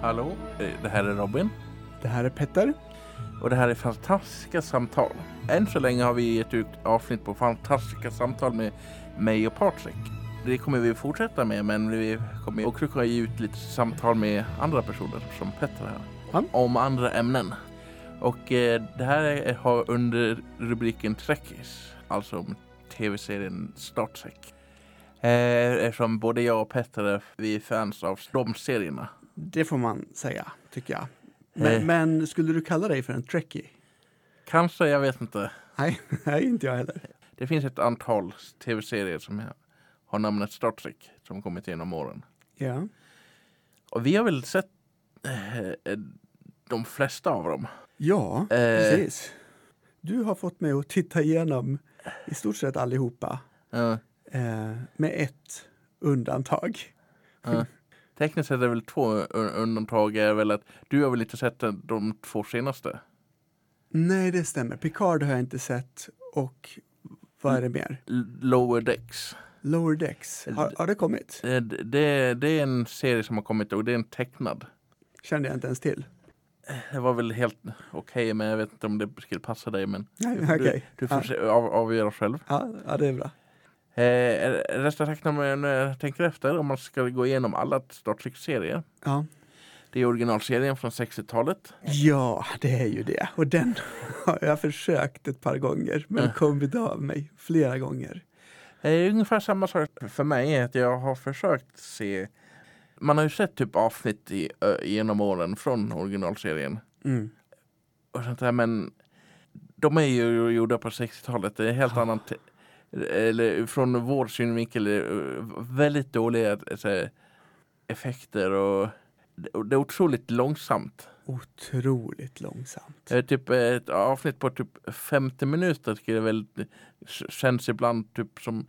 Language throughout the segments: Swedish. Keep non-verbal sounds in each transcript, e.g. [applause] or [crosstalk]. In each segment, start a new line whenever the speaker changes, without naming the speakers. Hallå, eh, det här är Robin
Det här är Petter.
och det här är Fantastiska samtal. Än så länge har vi gett ut avsnitt på Fantastiska samtal med mig och Patrik. Det kommer vi fortsätta med, men vi kommer också kunna ge ut lite samtal med andra personer som Petter här.
Ja.
Om andra ämnen. Och eh, det här är, har under rubriken Träckis, alltså om tv-serien Star Trek. Eh, eftersom både jag och Petter är, vi är fans av de serierna.
Det får man säga, tycker jag.
Eh.
Men, men skulle du kalla dig för en trekkie?
Kanske, jag vet inte.
Nej, [laughs] nej, inte jag heller.
Det finns ett antal tv-serier som har namnet Star Trek som kommit genom åren.
Ja.
Och vi har väl sett eh, de flesta av dem.
Ja,
Eh,
precis. Du har fått mig att titta igenom i stort sett allihopa.
eh,
Eh, med ett undantag.
eh. Tekniskt sett är det väl två u- undantag. Är väl att du har väl inte sett de- de två senaste?
Nej, det stämmer. Picard har jag inte sett och vad är det mer?
L- Lower Decks.
Lower Decks. Har, har det kommit?
Eh, d- Det, det är en serie som har kommit och det är en tecknad.
Kände jag inte ens till.
Det var väl helt okej, men jag vet inte om det skulle passa dig. Men
Nej,
du,
[laughs] okej.
du får
Ja.
se, av, avgöra själv.
Ja, ja, det är bra.
Eh, resten räknar man när jag tänker efter om man ska gå igenom alla Star Trek-serier.
Ja.
Det är originalserien från 60-talet.
Ja, det är ju det. Och den [laughs] har jag försökt ett par gånger, men
Mm.
kommit av mig flera gånger.
Eh, Det är ungefär samma sak för mig, att jag har försökt se man har ju sett typ avsnitt i, ö, genom åren från originalserien. Och sånt där, men de är ju gjorda på 60-talet. Det är helt annat. Eller från vår synvinkel eh, väldigt dåliga eh, så här, effekter och och det är otroligt långsamt.
Otroligt långsamt. [laughs]
Eh, Typ eh, ett avsnitt på typ 50 minuter skulle väl s- känns ibland typ som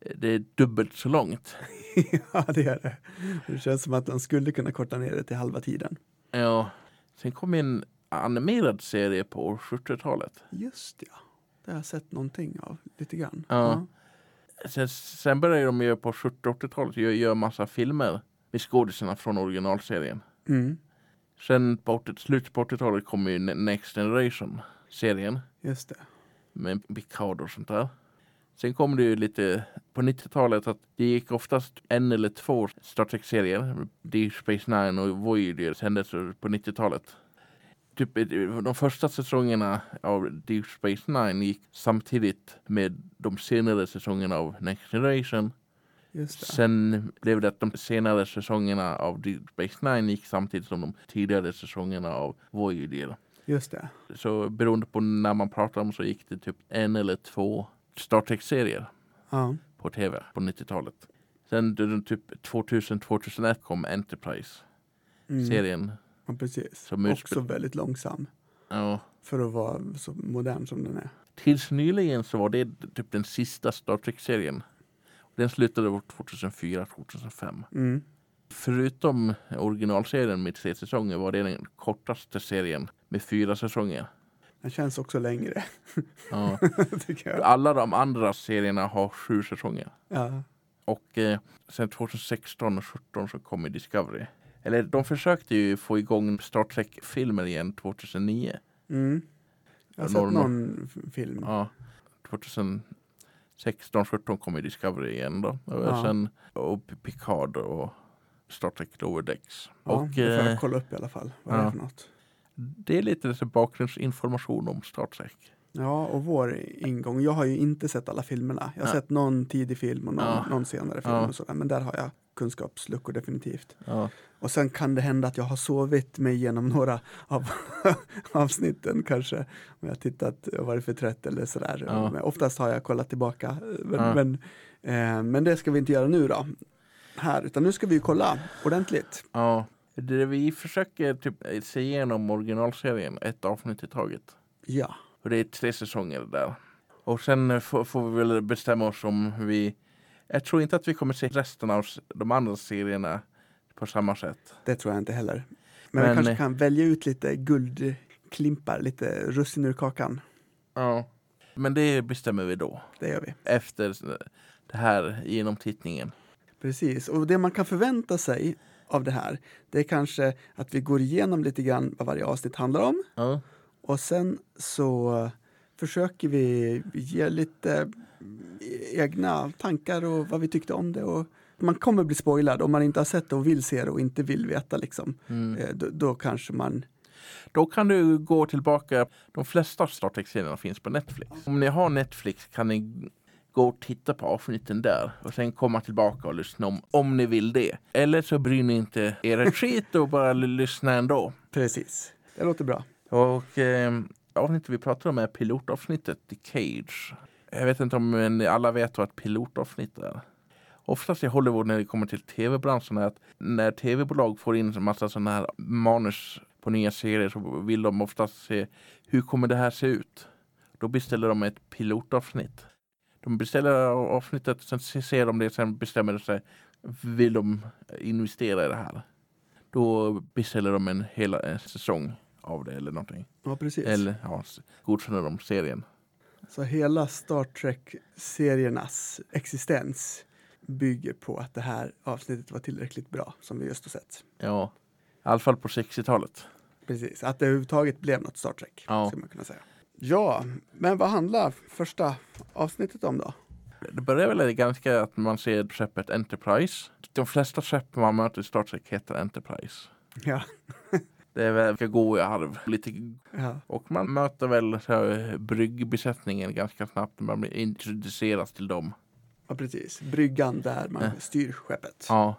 eh, det är dubbelt så långt.
ja, det är det. Det känns som att de skulle kunna korta ner det till halva tiden.
Ja. Sen kom en animerad serie på 70-talet.
Just ja, det har jag sett någonting av lite grann.
Ja. Sen, sen började de ju på 70-80-talet göra gör massa filmer med skådisarna från originalserien.
Ja. Mm,
Sen på 80 slutet på 80-talet kom ju Ne- Next Generation-serien
just det.
med Picard och sånt där. Sen kom det ju lite på 90-talet att det gick oftast en eller två Star Trek-serier. Deep Space Nine och Voyager sändes på 90-talet. Typ eh, de första säsongerna av Deep Space Nine gick samtidigt med de senare säsongerna av Next Generation.
Just det.
Sen blev det att de senare säsongerna av Deep Space Nine gick samtidigt som de tidigare säsongerna av Voyager.
Just det.
Så beroende på när man pratar om så gick det typ en eller två Star Trek-serier
Ja.
på tv på 90-talet. Sen runt typ 2000-2001 kom Enterprise-serien.
Mm. Ja, precis.
Som utspel-
Också väldigt långsam
Ja.
för att vara så modern som den är.
Tills nyligen så var det typ den sista Star Trek-serien. Den slutade år 2004-2005.
Mm.
Förutom originalserien med tre säsonger var det den kortaste serien med fyra säsonger.
Den känns också längre, [laughs]
Ja.
tycker jag.
Alla de andra serierna har sju säsonger.
Ja.
Och eh, sen 2016 och 2017 så kom ju Discovery. Eller de försökte ju få igång Star Trek-filmer igen 2009.
Mm. Jag har sett
Norma.
någon f- film.
Ja, 2016, 17 kom ju Discovery igen då. Och
Ja.
sen och P- Picard och Star Trek Lower Decks.
Ja,
och
det får
eh,
jag kolla upp i alla fall. Vad det
ja.
är för något.
det är lite så bakgrundsinformation om Star Trek.
Ja, och vår ingång. Jag har ju inte sett alla filmerna. Jag har
Ja.
sett någon tidig film och någon,
Ja.
någon senare film
Ja.
och sådär. Men där har jag kunskapsluckor definitivt.
Ja.
Och sen kan det hända att jag har sovit mig igenom några av [laughs] avsnitten kanske. Om jag tittat och varit för trött eller sådär.
Ja.
Men oftast har jag kollat tillbaka. Men,
Ja.
men, eh, men det ska vi inte göra nu då. Här, utan nu ska vi ju kolla ordentligt.
ja. Det vi försöker typ se igenom originalserien ett avsnitt i taget.
Ja,
Och det är tre säsonger där. Och sen eh, får, får vi väl bestämma oss om hur vi... Jag tror inte att vi kommer se resten av s- de andra serierna på samma sätt.
det tror jag inte heller. Men, eh,
Men-
vi kanske kan välja ut lite guldklimpar, lite russin ur kakan.
Ja. Men det bestämmer vi då.
Det gör vi.
Efter s- det här genomtittningen.
Precis, och det man kan förvänta sig av det här, det är kanske att vi går igenom lite grann vad varje avsnitt handlar om
Ja.
och sen så försöker vi ge lite egna tankar och vad vi tyckte om det. Och man kommer bli spoilad om man inte har sett det och vill se det och inte vill veta. Liksom. Eh, Då, då kanske man...
Då kan du gå tillbaka. De flesta Star Trek-serierna finns på Netflix. Om ni har Netflix kan ni gå och titta på avsnitten där och sen komma tillbaka och lyssna om, om ni vill det. Eller så bryr ni inte er ett skit och bara l- lyssna ändå.
Precis. Det låter bra.
Och eh, avsnittet vi pratar om är pilotavsnittet i Cage. Jag vet inte om men alla vet vad ett pilotavsnitt är. Oftast i Hollywood när det kommer till tv-branschen är att när tv-bolag får in en massa sådana här manus på nya serier så vill de oftast se hur kommer det här se ut? Då beställer de ett pilotavsnitt. De beställer avsnittet, sen ser de det, sen bestämmer de sig vill de investera i det här? Då beställer de en hela en säsong av det eller någonting.
Ja, precis.
Eller ja, s- godkänner de serien.
Så hela Star Trek-seriernas existens bygger på att det här avsnittet var tillräckligt bra som vi just har sett.
Ja, i alla fall på 60-talet.
Precis, att det överhuvudtaget blev något Star Trek.
Ja.
Skulle man kunna säga. Ja, men vad handlar första avsnittet om då?
Det börjar väl ganska att man ser skeppet Enterprise. De flesta skepp man möter i Star Trek heter Enterprise.
Ja.
[laughs] Det verkar gå i arv lite.
ja.
Och man möter väl så här, bryggbesättningen ganska snabbt när man blir introduceras till dem.
Ja, precis. Bryggan där man styr skeppet.
Ja.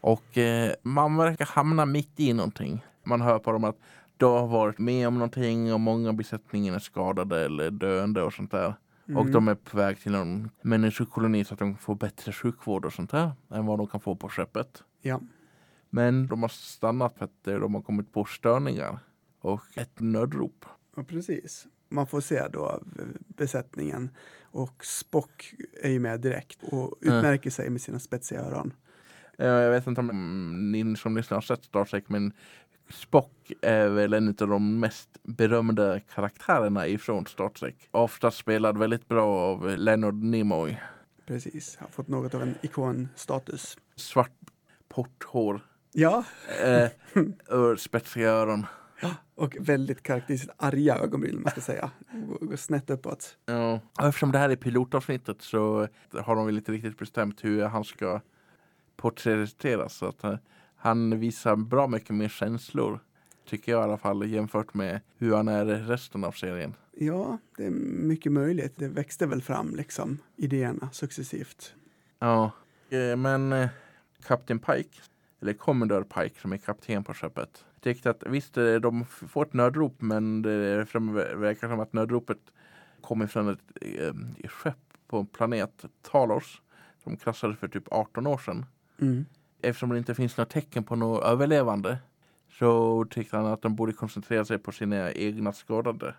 Och eh, man verkar hamna mitt i någonting. Man hör på dem att de har varit med om någonting och många besättningen är skadade eller döende och sånt där. Och de är på väg till någon människokoloni så att de får bättre sjukvård och sånt där än vad de kan få på skeppet.
Ja.
Men de har stannat för att eh, de har kommit på störningar och ett nödrop.
ja, precis. Man får se då av, eh, besättningen och Spock är ju med direkt och utmärker sig med sina spetsiga öron.
Eh, Jag vet inte om mm, ni som lyssnar har sett Star Trek men Spock är väl en av de mest berömda karaktärerna ifrån Star Trek. Ofta spelad väldigt bra av Leonard Nimoy.
Precis, har fått något av en ikonstatus.
Svart porthår,
Ja,
eh, och spetsiga öron.
och väldigt karaktäristiskt arga ögonbryn, man ska säga. Går går snett uppåt.
Ja. Och Eftersom det här är pilotavsnittet så har de väl inte riktigt bestämt hur han ska porträtteras. Så att eh, han visar bra mycket mer känslor, tycker jag i alla fall, jämfört med hur han är i resten av serien.
Ja, det är mycket möjligt. Det växte väl fram liksom, idéerna successivt.
Ja, eh, men eh, kapten Pike, eller kommendör Pike som är kapten på skeppet, tyckte att visst, eh, de f- får ett nödrop, men det fram- verkar som att nödropet kommer från ett eh, skepp på en planet, Talos, som kraschade för typ 18 år sedan.
Mm.
Eftersom det inte finns några tecken på något överlevande så tyckte han att de borde koncentrera sig på sina egna skadade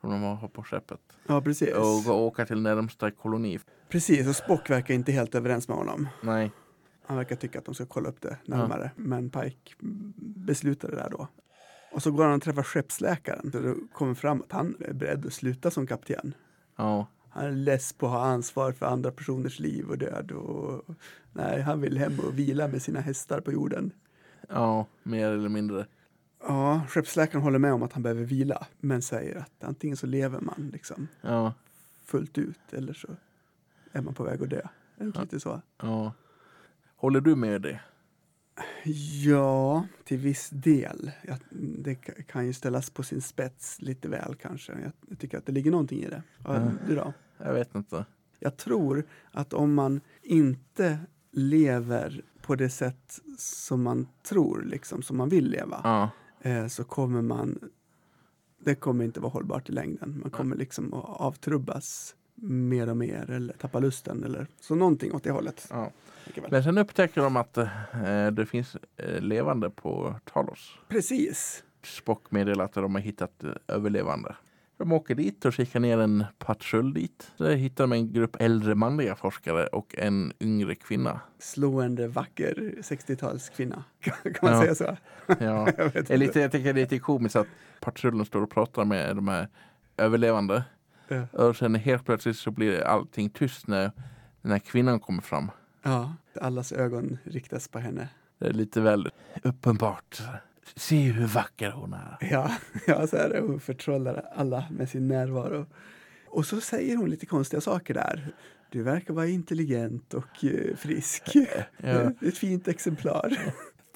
som de har på skeppet
Ja, precis.
och gå- åka till närmsta koloni.
Precis, och Spock verkar inte helt överens med honom.
Nej.
Han verkar tycka att de ska kolla upp det närmare. Men Pike mm, beslutade det där då. Och så går han och träffar skeppsläkaren. Så det kommer fram att han är beredd att sluta som kapten.
Ja.
Han är less på att ha ansvar för andra personers liv och död. Och... Nej, han vill hem och vila med sina hästar på jorden.
Ja, mer eller mindre.
Ja, skeppsläkaren håller med om att han behöver vila. Men säger att antingen så lever man liksom
Ja,
fullt ut eller så är man på väg att dö. Är det inte lite så?
ja. Håller du med det?
Ja, till viss del. Jag, det ka- kan ju ställas på sin spets lite väl kanske. Jag, jag tycker att det ligger någonting i det. Ja, Du då?
Jag vet inte.
Jag tror att om man inte lever på det sätt som man tror, liksom, som man vill leva,
Ja,
eh, så kommer man... Det kommer inte vara hållbart i längden. Man kommer liksom att avtrubbas mer och mer eller tappa lusten eller så någonting åt det hållet.
ja.
tänker jag väl.
Men sen upptäcker de att eh, det finns eh, levande på Talos.
Precis!
Spock meddelar att de har hittat eh, överlevande. De åker dit och kikar ner en patrull dit. Där hittar de en grupp äldre manliga forskare och en yngre kvinna.
slående vacker 60-talskvinna. [laughs] Kan man
Ja.
säga så?
Ja.
Jag vet
Det är
inte.
lite, jag tycker det är lite komiskt att patrullen står och pratar med de här överlevande.
Ja.
Och sen helt plötsligt så blir allting tyst när, när kvinnan kommer fram.
Ja, allas ögon riktas på henne.
Det är lite väl uppenbart. Se hur vacker hon är.
Ja, [laughs] ja så är det. Hon förtrollar alla med sin närvaro. Och så säger hon lite konstiga saker där. Du verkar vara intelligent och eh, frisk.
[laughs]
[laughs]
Ja.
Ett fint exemplar.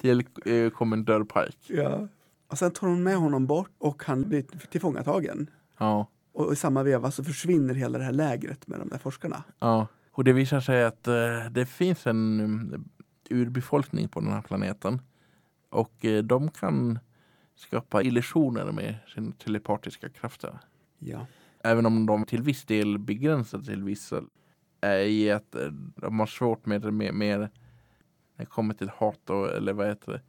Till eh, kommendör Pike.
Ja. Och sen tar hon med honom bort och han blir tillfångatagen.
Ja,
Och i samma veva så försvinner hela det här lägret med de där forskarna.
ja. Och det visar sig att eh, det finns en mm, urbefolkning på den här planeten. Och eh, de kan skapa illusioner med sina telepatiska krafter.
Ja.
Även om de till viss del begränsar till vissa är i att eh, de har svårt med det mer, mer när det kommer till hat och, eller vad heter det,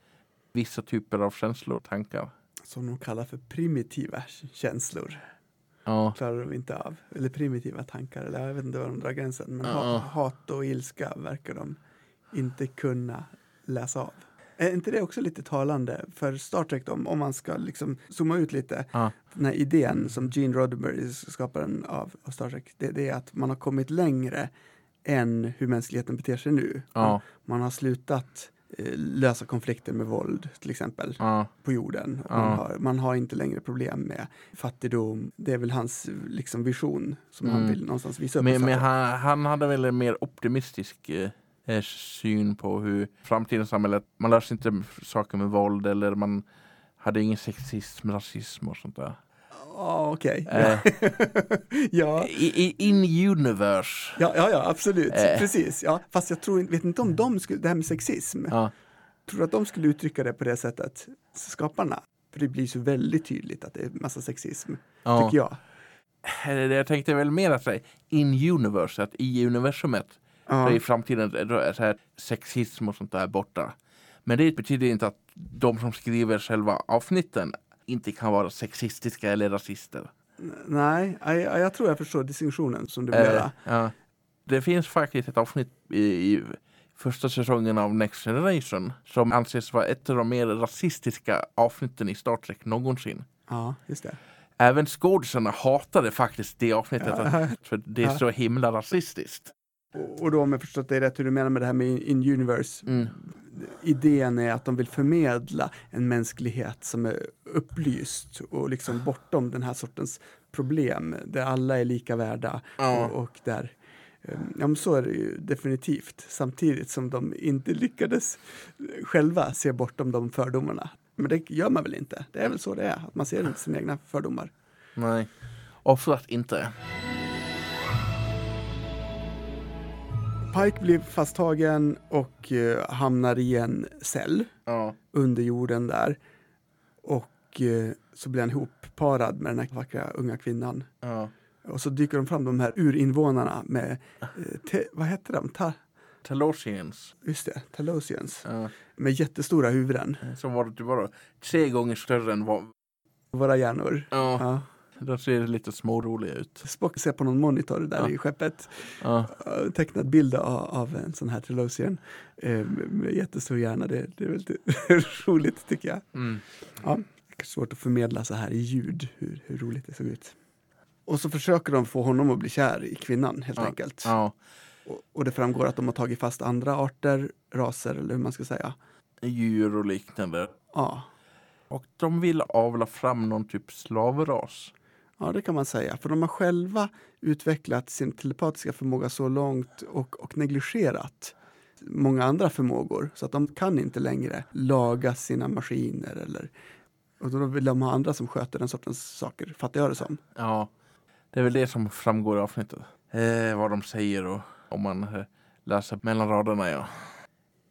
vissa typer av känslor och tankar.
Som de kallar för primitiva känslor.
Ja,
Klarar de inte av. Eller primitiva tankar. Eller jag vet inte var de drar gränsen. Men
Ja.
ha, hat och ilska verkar de inte kunna läsa av. Är inte det också lite talande för Star Trek då, om man ska liksom zooma ut lite?
ja,
den här idén som Gene Roddenberry, skaparen av, av Star Trek, det, det är att man har kommit längre än hur mänskligheten beter sig nu.
ja,
Man har slutat eh, lösa konflikter med våld till exempel
ja,
på jorden. Och
Ja.
Man, har, man har inte längre problem med fattigdom. Det är väl hans liksom, vision som han
Mm.
vill någonstans visa upp.
Men,
Star
men
Trek.
han, han hade väl en mer optimistisk eh, eh, syn på hur framtidens samhälle, man löser inte saker med våld eller man hade ingen sexism, rasism och sånt där.
Ja, "Ah, okej.
Eh,
[laughs] ja.
i, i, in universe.
Ja, ja, ja, absolut.
Eh.
Precis. Ja. Fast jag tror, inte- vet inte om de skulle, det här med sexism,
Ja,
Tror du att de skulle uttrycka det på det sättet, skaparna? För det blir så väldigt tydligt att det är massa sexism,
ja.
tycker jag.
Eh, Jag tänkte väl mer att säga in universe, att i universumet
Ja.
så i framtiden är det så här sexism och sånt där borta. Men det betyder inte att de som skriver själva avsnitten inte kan vara sexistiska eller rasister.
N- Nej, jag, jag tror jag förstår distinktionen som du vill
Eh,
göra.
ja. Det finns faktiskt ett avsnitt i, i första säsongen av Next Generation som anses vara ett av de mer rasistiska avsnitten i Star Trek någonsin.
Ja, just det.
Även skådisarna hatade faktiskt det avsnittet
Ja.
för det är
Ja.
så himla rasistiskt.
Och, och då om jag förstått dig rätt, hur du menar med det här med in- in-universe.
Mm.
Idén är att de vill förmedla en mänsklighet som är upplyst och liksom bortom den här sortens problem, där alla är lika värda.
Ja.
Och, och där, eh, ja men så är det ju definitivt. Samtidigt som de inte lyckades själva se bortom de fördomarna. Men det gör man väl inte? Det är väl så det är, att man ser inte sina egna fördomar.
Nej, oftast inte.
Pike blir fasttagen och eh, hamnar i en cell
Ja.
under jorden där. Och eh, så blir han ihopparad med den här vackra unga kvinnan.
ja.
Och så dyker de fram, de här urinvånarna med, eh, te, vad heter de? Ta,
Talosians.
just det, Talosians.
Ja.
Med jättestora huvuden,
Som var, det var då, tre gånger större än vad...
våra hjärnor.
Ja.
Ja.
De ser lite småroliga ut.
Spock ser på någon monitor där
Ja.
i skeppet.
Ja.
Eh, Tecknad bild av, av en sån här Trelosian. Eh, med jättestor hjärna. Det, det är väldigt [laughs] roligt tycker jag.
Mm.
Ja. Det är svårt att förmedla så här i ljud hur, hur roligt det såg ut. Och så försöker de få honom att bli kär i kvinnan helt
Ja.
enkelt.
ja.
Och, och det framgår att de har tagit fast andra arter, raser eller hur man ska säga.
Djur och liknande.
Ja,
Och de vill avla fram någon typ slavras.
ja det kan man säga. För de har själva utvecklat sin telepatiska förmåga så långt och, och negligerat många andra förmågor så att de kan inte längre laga sina maskiner eller och då vill de ha andra som sköter den sortens saker, fattar jag det som.
Ja. Det är väl det som framgår i avsnittet. Eh, vad de säger och om man eh, läser mellan raderna, ja.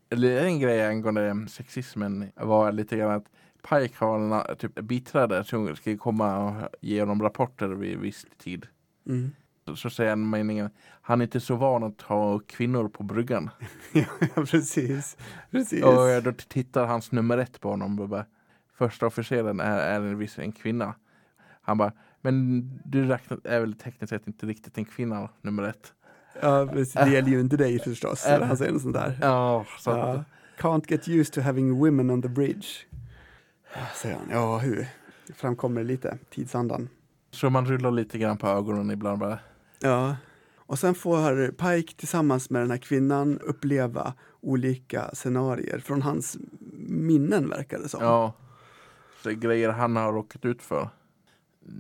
Eller en grej angående sexismen var lite grann att Pike har en a- typ biträde som ska komma och ge honom rapporter vid viss tid.
Mm.
Så- Så säger han meningen, han är inte så van att ha kvinnor på bryggan.
[laughs] ja, precis. precis.
Och eh, då t- tittar hans nummer ett på honom och bara, första officeren är, är en viss en kvinna. Han bara, men du räknar, är väl tekniskt sett inte riktigt en kvinna, nummer ett.
ja, precis. Det gäller ju inte dig förstås,
Äh.
eller han säger något sånt där.
Ja, så att,
Ja. Can't get used to having women on the bridge. Ja, Säger han. Ja, hur? Det framkommer lite, tidsandan.
Så man rullar lite grann på ögonen ibland bara.
Ja. Och sen får Pike tillsammans med den här kvinnan uppleva olika scenarier från hans minnen verkar det som.
Ja. Så grejer han har råkat ut för.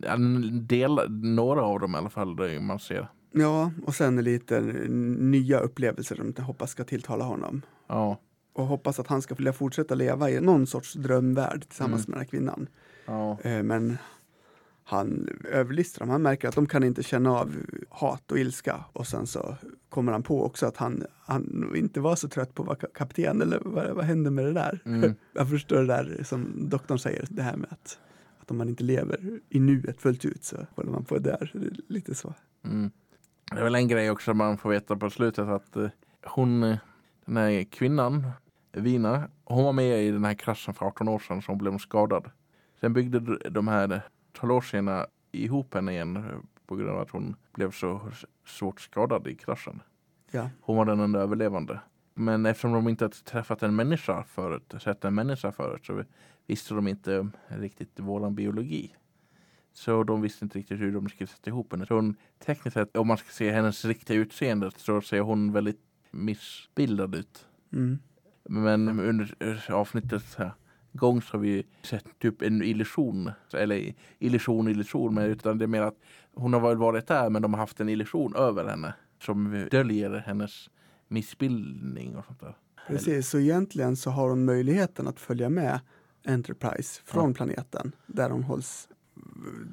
En del, några av dem i alla fall, det man ser.
Ja, och sen lite nya upplevelser som jag hoppas ska tilltala honom.
Ja.
Och hoppas att han ska vilja fortsätta leva i någon sorts drömvärld tillsammans med den här kvinnan.
ja.
Eh, Men han överlistar dem. Han märker att de kan inte känna av hat och ilska. Och sen så kommer han på också att han, han nog inte var så trött på att vara ka- kapten. Eller vad, vad hände med det där?
Mm.
[laughs] Jag förstår det där som doktorn säger, det här med att, att om man inte lever i nuet fullt ut så håller man på där. Det är lite så.
Mm. Det är väl en grej också man får veta på slutet att eh, hon, eh, den här kvinnan, Vina, hon var med i den här kraschen för 18 år sedan som blev skadad. Sen byggde d- de här talosierna ihop henne igen eh, på grund av att hon blev så s- svårt skadad i kraschen.
Ja.
Hon var den enda överlevande. Men eftersom de inte hade träffat en människa förut, sett en människa förut, så visste de inte riktigt våran biologi. Så de visste inte riktigt hur de skulle sätta ihop henne. Så hon, tekniskt sett, om man ska se hennes riktiga utseende, så ser hon väldigt missbildad ut.
Mm.
Men under avsnittets här gång så har vi sett typ en illusion. Eller illusion, illusion. Men utan det är mer att hon har väl varit där men de har haft en illusion över henne. Som döljer hennes missbildning och sånt där.
Precis, så egentligen så har hon möjligheten att följa med Enterprise från planeten där hon hålls.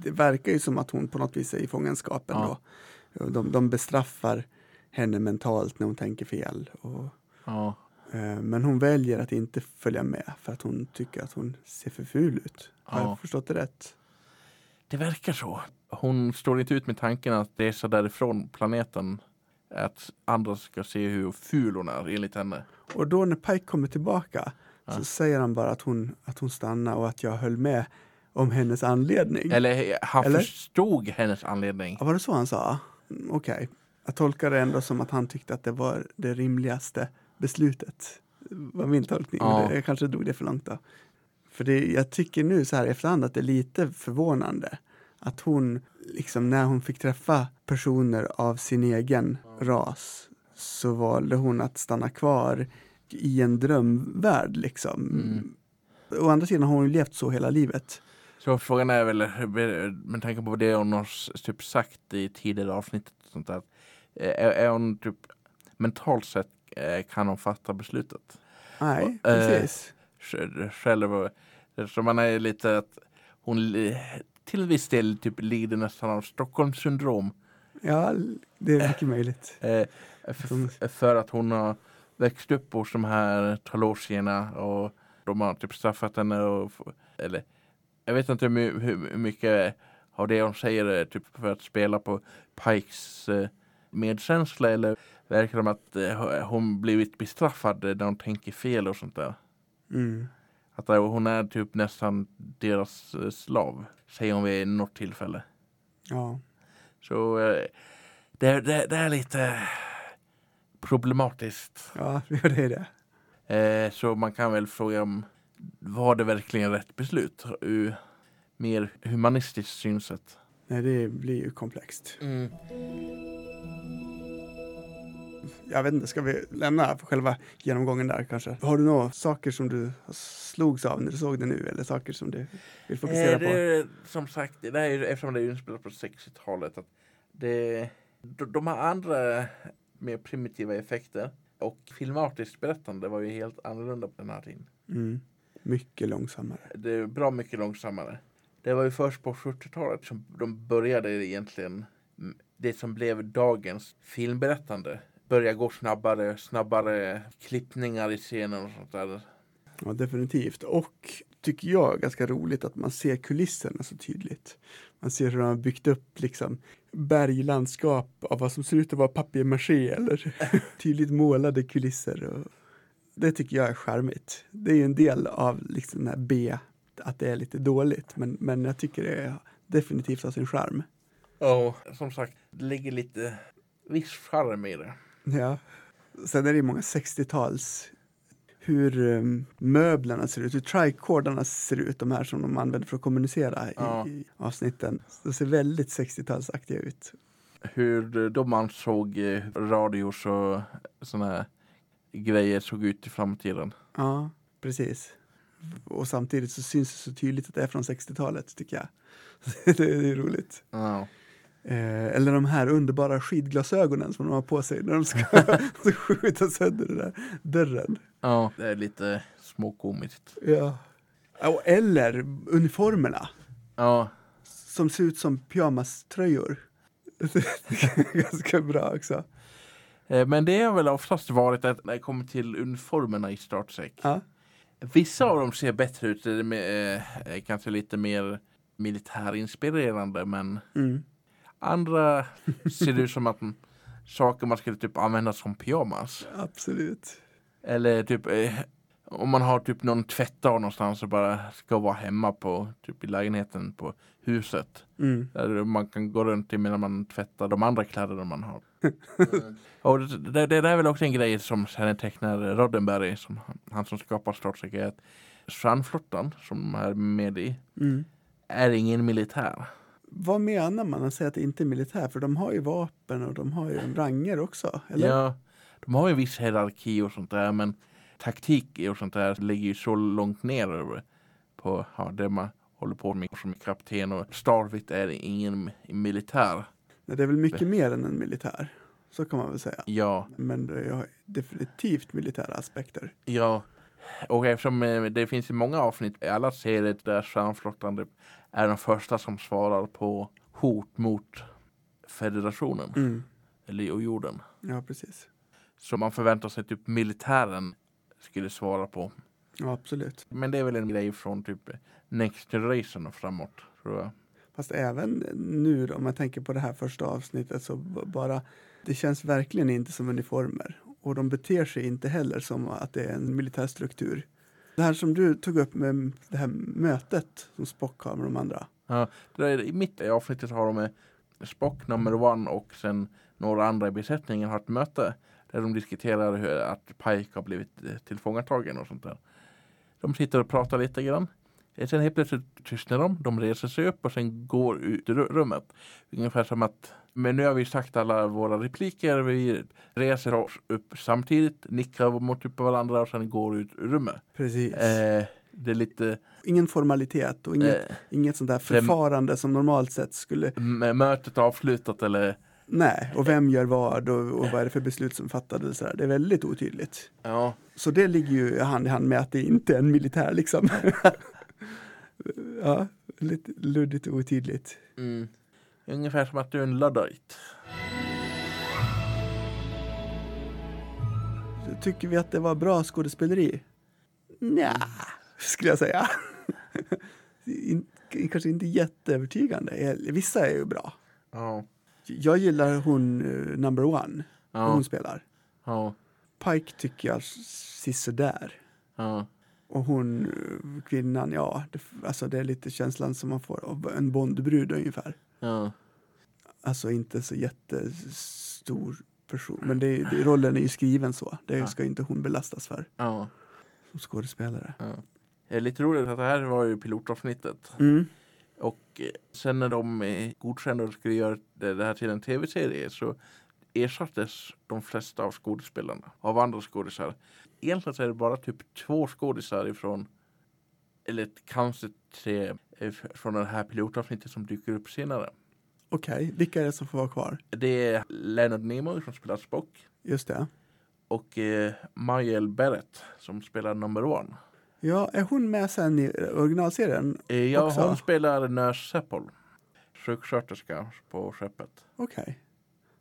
Det verkar ju som att hon på något vis är i fångenskapen
Ja.
då. De, de bestraffar henne mentalt när hon tänker fel. Och,
Ja.
eh, men hon väljer att inte följa med för att hon tycker att hon ser för ful ut. Har
Ja.
jag förstått det rätt?
Det verkar så. Hon står inte ut med tanken att resa därifrån planeten. Att andra ska se hur ful hon är enligt henne.
Och då när Pike kommer tillbaka så säger han bara att hon, att hon stannar och att jag höll med om hennes anledning.
Eller eh, han
Eller?
förstod hennes anledning.
Ja, var det så han sa? Mm, Okej. Jag tolkar det ändå som att han tyckte att det var det rimligaste beslutet. var min tolkning.
Ja.
Men det, jag kanske drog det för långt då. För det, jag tycker nu så här i efterhand att det är lite förvånande att hon, liksom när hon fick träffa personer av sin egen ras så valde hon att stanna kvar i en drömvärld liksom.
Mm.
Å andra sidan har hon ju levt så hela livet.
Så frågan är väl, eh, med tanke på det hon har s- typ sagt i tidigare avsnitt och sånt där. eh, Är, är hon typ mentalt sett eh, kan hon fatta beslutet
Nej,
Och, eh,
precis.
sj- själv? och- Så man är lite att hon li- till viss del typ lider nästan av Stockholms syndrom.
Ja, det är mycket möjligt.
Eh, för, för att hon har växt upp hos de här talosierna och de har typ straffat henne. Och, f- eller, jag vet inte hur, my- hur mycket av det hon säger är typ för att spela på Pikes eh, medkänsla eller verkar det som att eh, hon blivit bestraffad när hon tänker fel och sånt där.
Mm.
Att eh, hon är typ nästan deras eh, slav, säger hon vid något tillfälle.
Ja.
Så eh, det, det, det är lite problematiskt.
ja, [laughs] det är det.
Eh, Så man kan väl fråga om var det verkligen rätt beslut ur mer humanistiskt synsätt?
Nej, det blir ju komplext.
Mm.
Jag vet inte, ska vi lämna för själva genomgången där kanske? Har du några saker som du slogs av när du såg det nu eller saker som du vill fokusera
Eh, det
på?
är, som sagt, det här är, ju- eftersom det är inspelat på 60-talet, att det, de, de har andra mer primitiva effekter och filmatiskt berättande var ju helt annorlunda på den här tiden.
Mm. Mycket långsammare.
Det är bra mycket långsammare. Det var ju först på 70-talet som de började egentligen mm, det som blev dagens filmberättande. Börja gå snabbare, snabbare klippningar i scenen och sånt där.
Ja, definitivt. Och tycker jag ganska roligt att man ser kulisserna så tydligt. Man ser hur de har byggt upp liksom berglandskap av vad som ser ut att vara papier-maché eller [laughs] tydligt målade kulisser. Och det tycker jag är charmigt. Det är ju en del av liksom den här B, att det är lite dåligt, men, men jag tycker det är definitivt har sin charm.
Och som sagt, det ligger lite viss charm i det.
Ja. Sen är det ju många 60-tals hur eh, möblerna ser ut, hur tricordarna ser ut, de här som de använder för att kommunicera i,
Ja.
i avsnitten. De ser väldigt 60-talsaktiga ut.
hur de ansåg eh, radios och såna här grejer såg ut i framtiden.
Ja, precis. Och samtidigt så syns det så tydligt att det är från 60-talet, tycker jag. [laughs] det är ju roligt.
Ja.
Eh, eller de här underbara skidglasögonen som de har på sig när de ska [laughs] ska skjuta sönder den där dörren.
ja, det är lite småkomiskt.
Ja. Och- Eller uniformerna
Ja,
som ser ut som pyjamaströjor. [laughs] Ganska bra också.
Eh, men det har väl oftast varit att när det kommer till uniformerna i Star Trek.
Ja.
Vissa av dem ser bättre ut, det är med, eh, eh, kanske lite mer militärinspirerande men
Mm.
andra ser ut som att de- saker man skulle typ använda som pyjamas.
Absolut.
Eller typ eh, om man har typ någon tvättdag någonstans och bara ska vara hemma på typ i lägenheten på huset.
Mm.
Där man kan gå runt i medan man tvättar de andra kläderna man har. och det, det, det där är väl också en grej som kännetecknar Roddenberry, som han, han som skapar Star Trek, är att Strandflottan som är med i
Mm.
är ingen militär.
Vad menar man att säga att det inte är militär? För de har ju vapen och de har ju ranger också. Eller?
Ja, de har ju en viss hierarki och sånt där men taktik och sånt där ligger ju så långt ner över på ja, det man håller på med som kapten och Starvit är ingen militär.
Nej, Det är väl mycket mer än en militär. Så kan man väl säga.
Ja,
Men det har definitivt militära aspekter.
ja. Och eftersom eh, det finns ju många avsnitt i alla serier där Stjärnflottan är den första som svarar på hot mot federationen
Mm.
eller och jorden.
Ja, precis.
Så man förväntar sig typ militären skulle svara på
Ja, absolut.
Men det är väl en grej från typ Next Generation och framåt. Tror jag.
Fast även nu då, om man tänker på det här första avsnittet så b- bara det känns verkligen inte som uniformer och de beter sig inte heller som att det är en militär struktur. Det här som du tog upp med det här mötet som Spock har med de andra.
Ja, det är, I mitt i avsnittet har de eh, Spock number one och sen några andra i besättningen har ett möte där de diskuterar hur att Pike har blivit eh, tillfångatagen och sånt där. De sitter och pratar lite grann. Eh, Sen helt plötsligt tystnar de, de reser sig upp och sen går ut ur rummet. Ungefär som att, men nu har vi sagt alla våra repliker, vi reser oss upp samtidigt, nickar mot typ varandra och sen går ut ur rummet.
Precis.
Eh, det är lite
Ingen formalitet och inget,
eh,
inget sånt där förfarande som normalt sett skulle...
m- mötet avslutat eller
Nej, och vem gör vad och, och vad är det för beslut som fattades? Där. Det är väldigt otydligt.
ja.
Så det ligger ju hand i hand med att det inte är en militär liksom. ja, lite luddigt och otydligt.
Mm. Ungefär som att du är en luddite.
Tycker vi att det var bra skådespeleri? Nja, skulle jag säga. [laughs] In, kanske inte jätteövertygande. Eh, Vissa är ju bra.
Ja.
Jag gillar hon eh, number one,
Ja.
hon spelar.
Ja.
Pike tycker jag sisådär.
Ja.
Och hon, eh, kvinnan, ja, det, alltså det är lite känslan som man får av en Bondbrud ungefär.
Ja.
alltså inte så jättestor person. Men det, är- det, rollen är ju skriven så. Det
Ja.
ska ju inte hon belastas för
ja.
som skådespelare.
Det är lite roligt att det här var ju pilotavsnittet.
Mm.
Och eh, sen när de eh, godkände och skulle göra det det här till en tv-serie så ersattes de flesta av skådespelarna av andra skådisar. Egentligen så är det bara typ två skådisar ifrån, eller kanske tre, eh, från det här pilotavsnittet som dyker upp senare.
Okej, vilka är det som får vara kvar?
Det är Leonard Nimoy som spelar Spock
Just det.
och eh, Marielle Barrett som spelar Number One.
Ja, är hon med sen i originalserien?
Eh, ja,
Också?
hon spelar Nurse Seppel, sjuksköterska på skeppet.
Okej.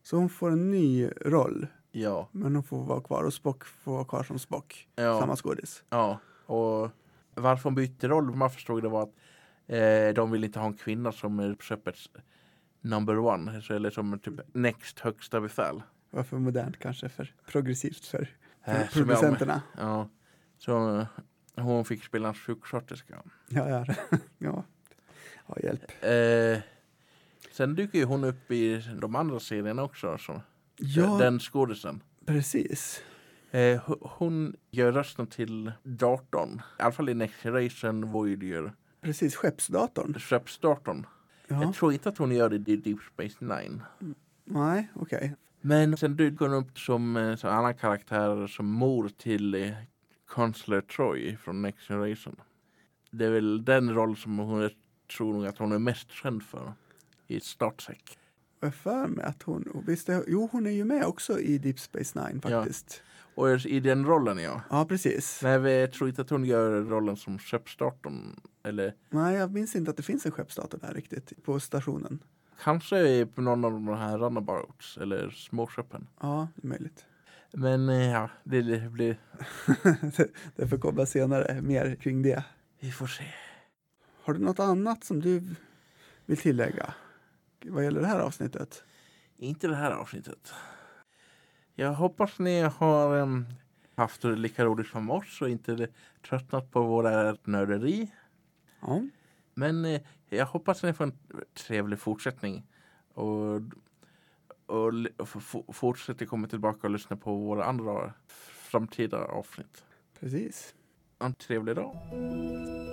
Så hon får en ny roll,
Ja,
men hon får vara kvar och Spock får vara kvar som Spock. Samma
ja,
skådis.
ja. Och varför hon bytte roll, vad man förstod det var att eh, de vill inte ha en kvinna som är skeppets Number One, så- eller som typ näst högsta befäl.
Varför för modernt kanske, för progressivt för
Eh, som jag-
producenterna.
Ja, så eh, hon fick spela en sjuksköterska.
Ja, ja. [laughs] ja. ja, hjälp.
Eh, sen dyker ju hon upp i de andra serierna också. Som,
Ja,
Eh, Den skådisen.
precis.
Eh, ho- hon gör rösten till datorn. I alla fall i Next Generation Voyager.
Precis, skeppsdatorn.
Skeppsdatorn.
Ja.
Jag tror inte att hon gör det i Deep Space Nine.
Nej, okej.
Men sen dyker hon upp som eh, så alla karaktärer som mor till eh, Consular Troy från Next Generation. Det är väl den roll som hon är, tror nog att hon är mest känd för i Startsec.
Jag har för mig att hon, och visst, är- jo hon är ju med också i Deep Space Nine
Ja.
faktiskt.
Och i den rollen ja.
Ja, precis.
Nej, vi- jag tror inte att hon gör rollen som skeppsstarten. Eller
Nej, jag minns inte att det finns en skeppsdator där riktigt, på stationen.
kanske på någon av de här runabouts eller småskeppen.
Ja, det är möjligt. [laughs]
Men eh, ja, det, det blir...
Därför kommer senare mer kring det.
Vi får se.
Har du något annat som du vill tillägga vad gäller det här avsnittet?
Inte det här avsnittet. Jag hoppas ni har em, haft det lika roligt som oss och inte tröttnat på våra nörderi.
Ja,
Men eh, jag hoppas ni får en trevlig fortsättning. Och, och, l- och f- f- fortsätter komma tillbaka och lyssna på våra andra framtida avsnitt.
precis.
Ha en trevlig dag.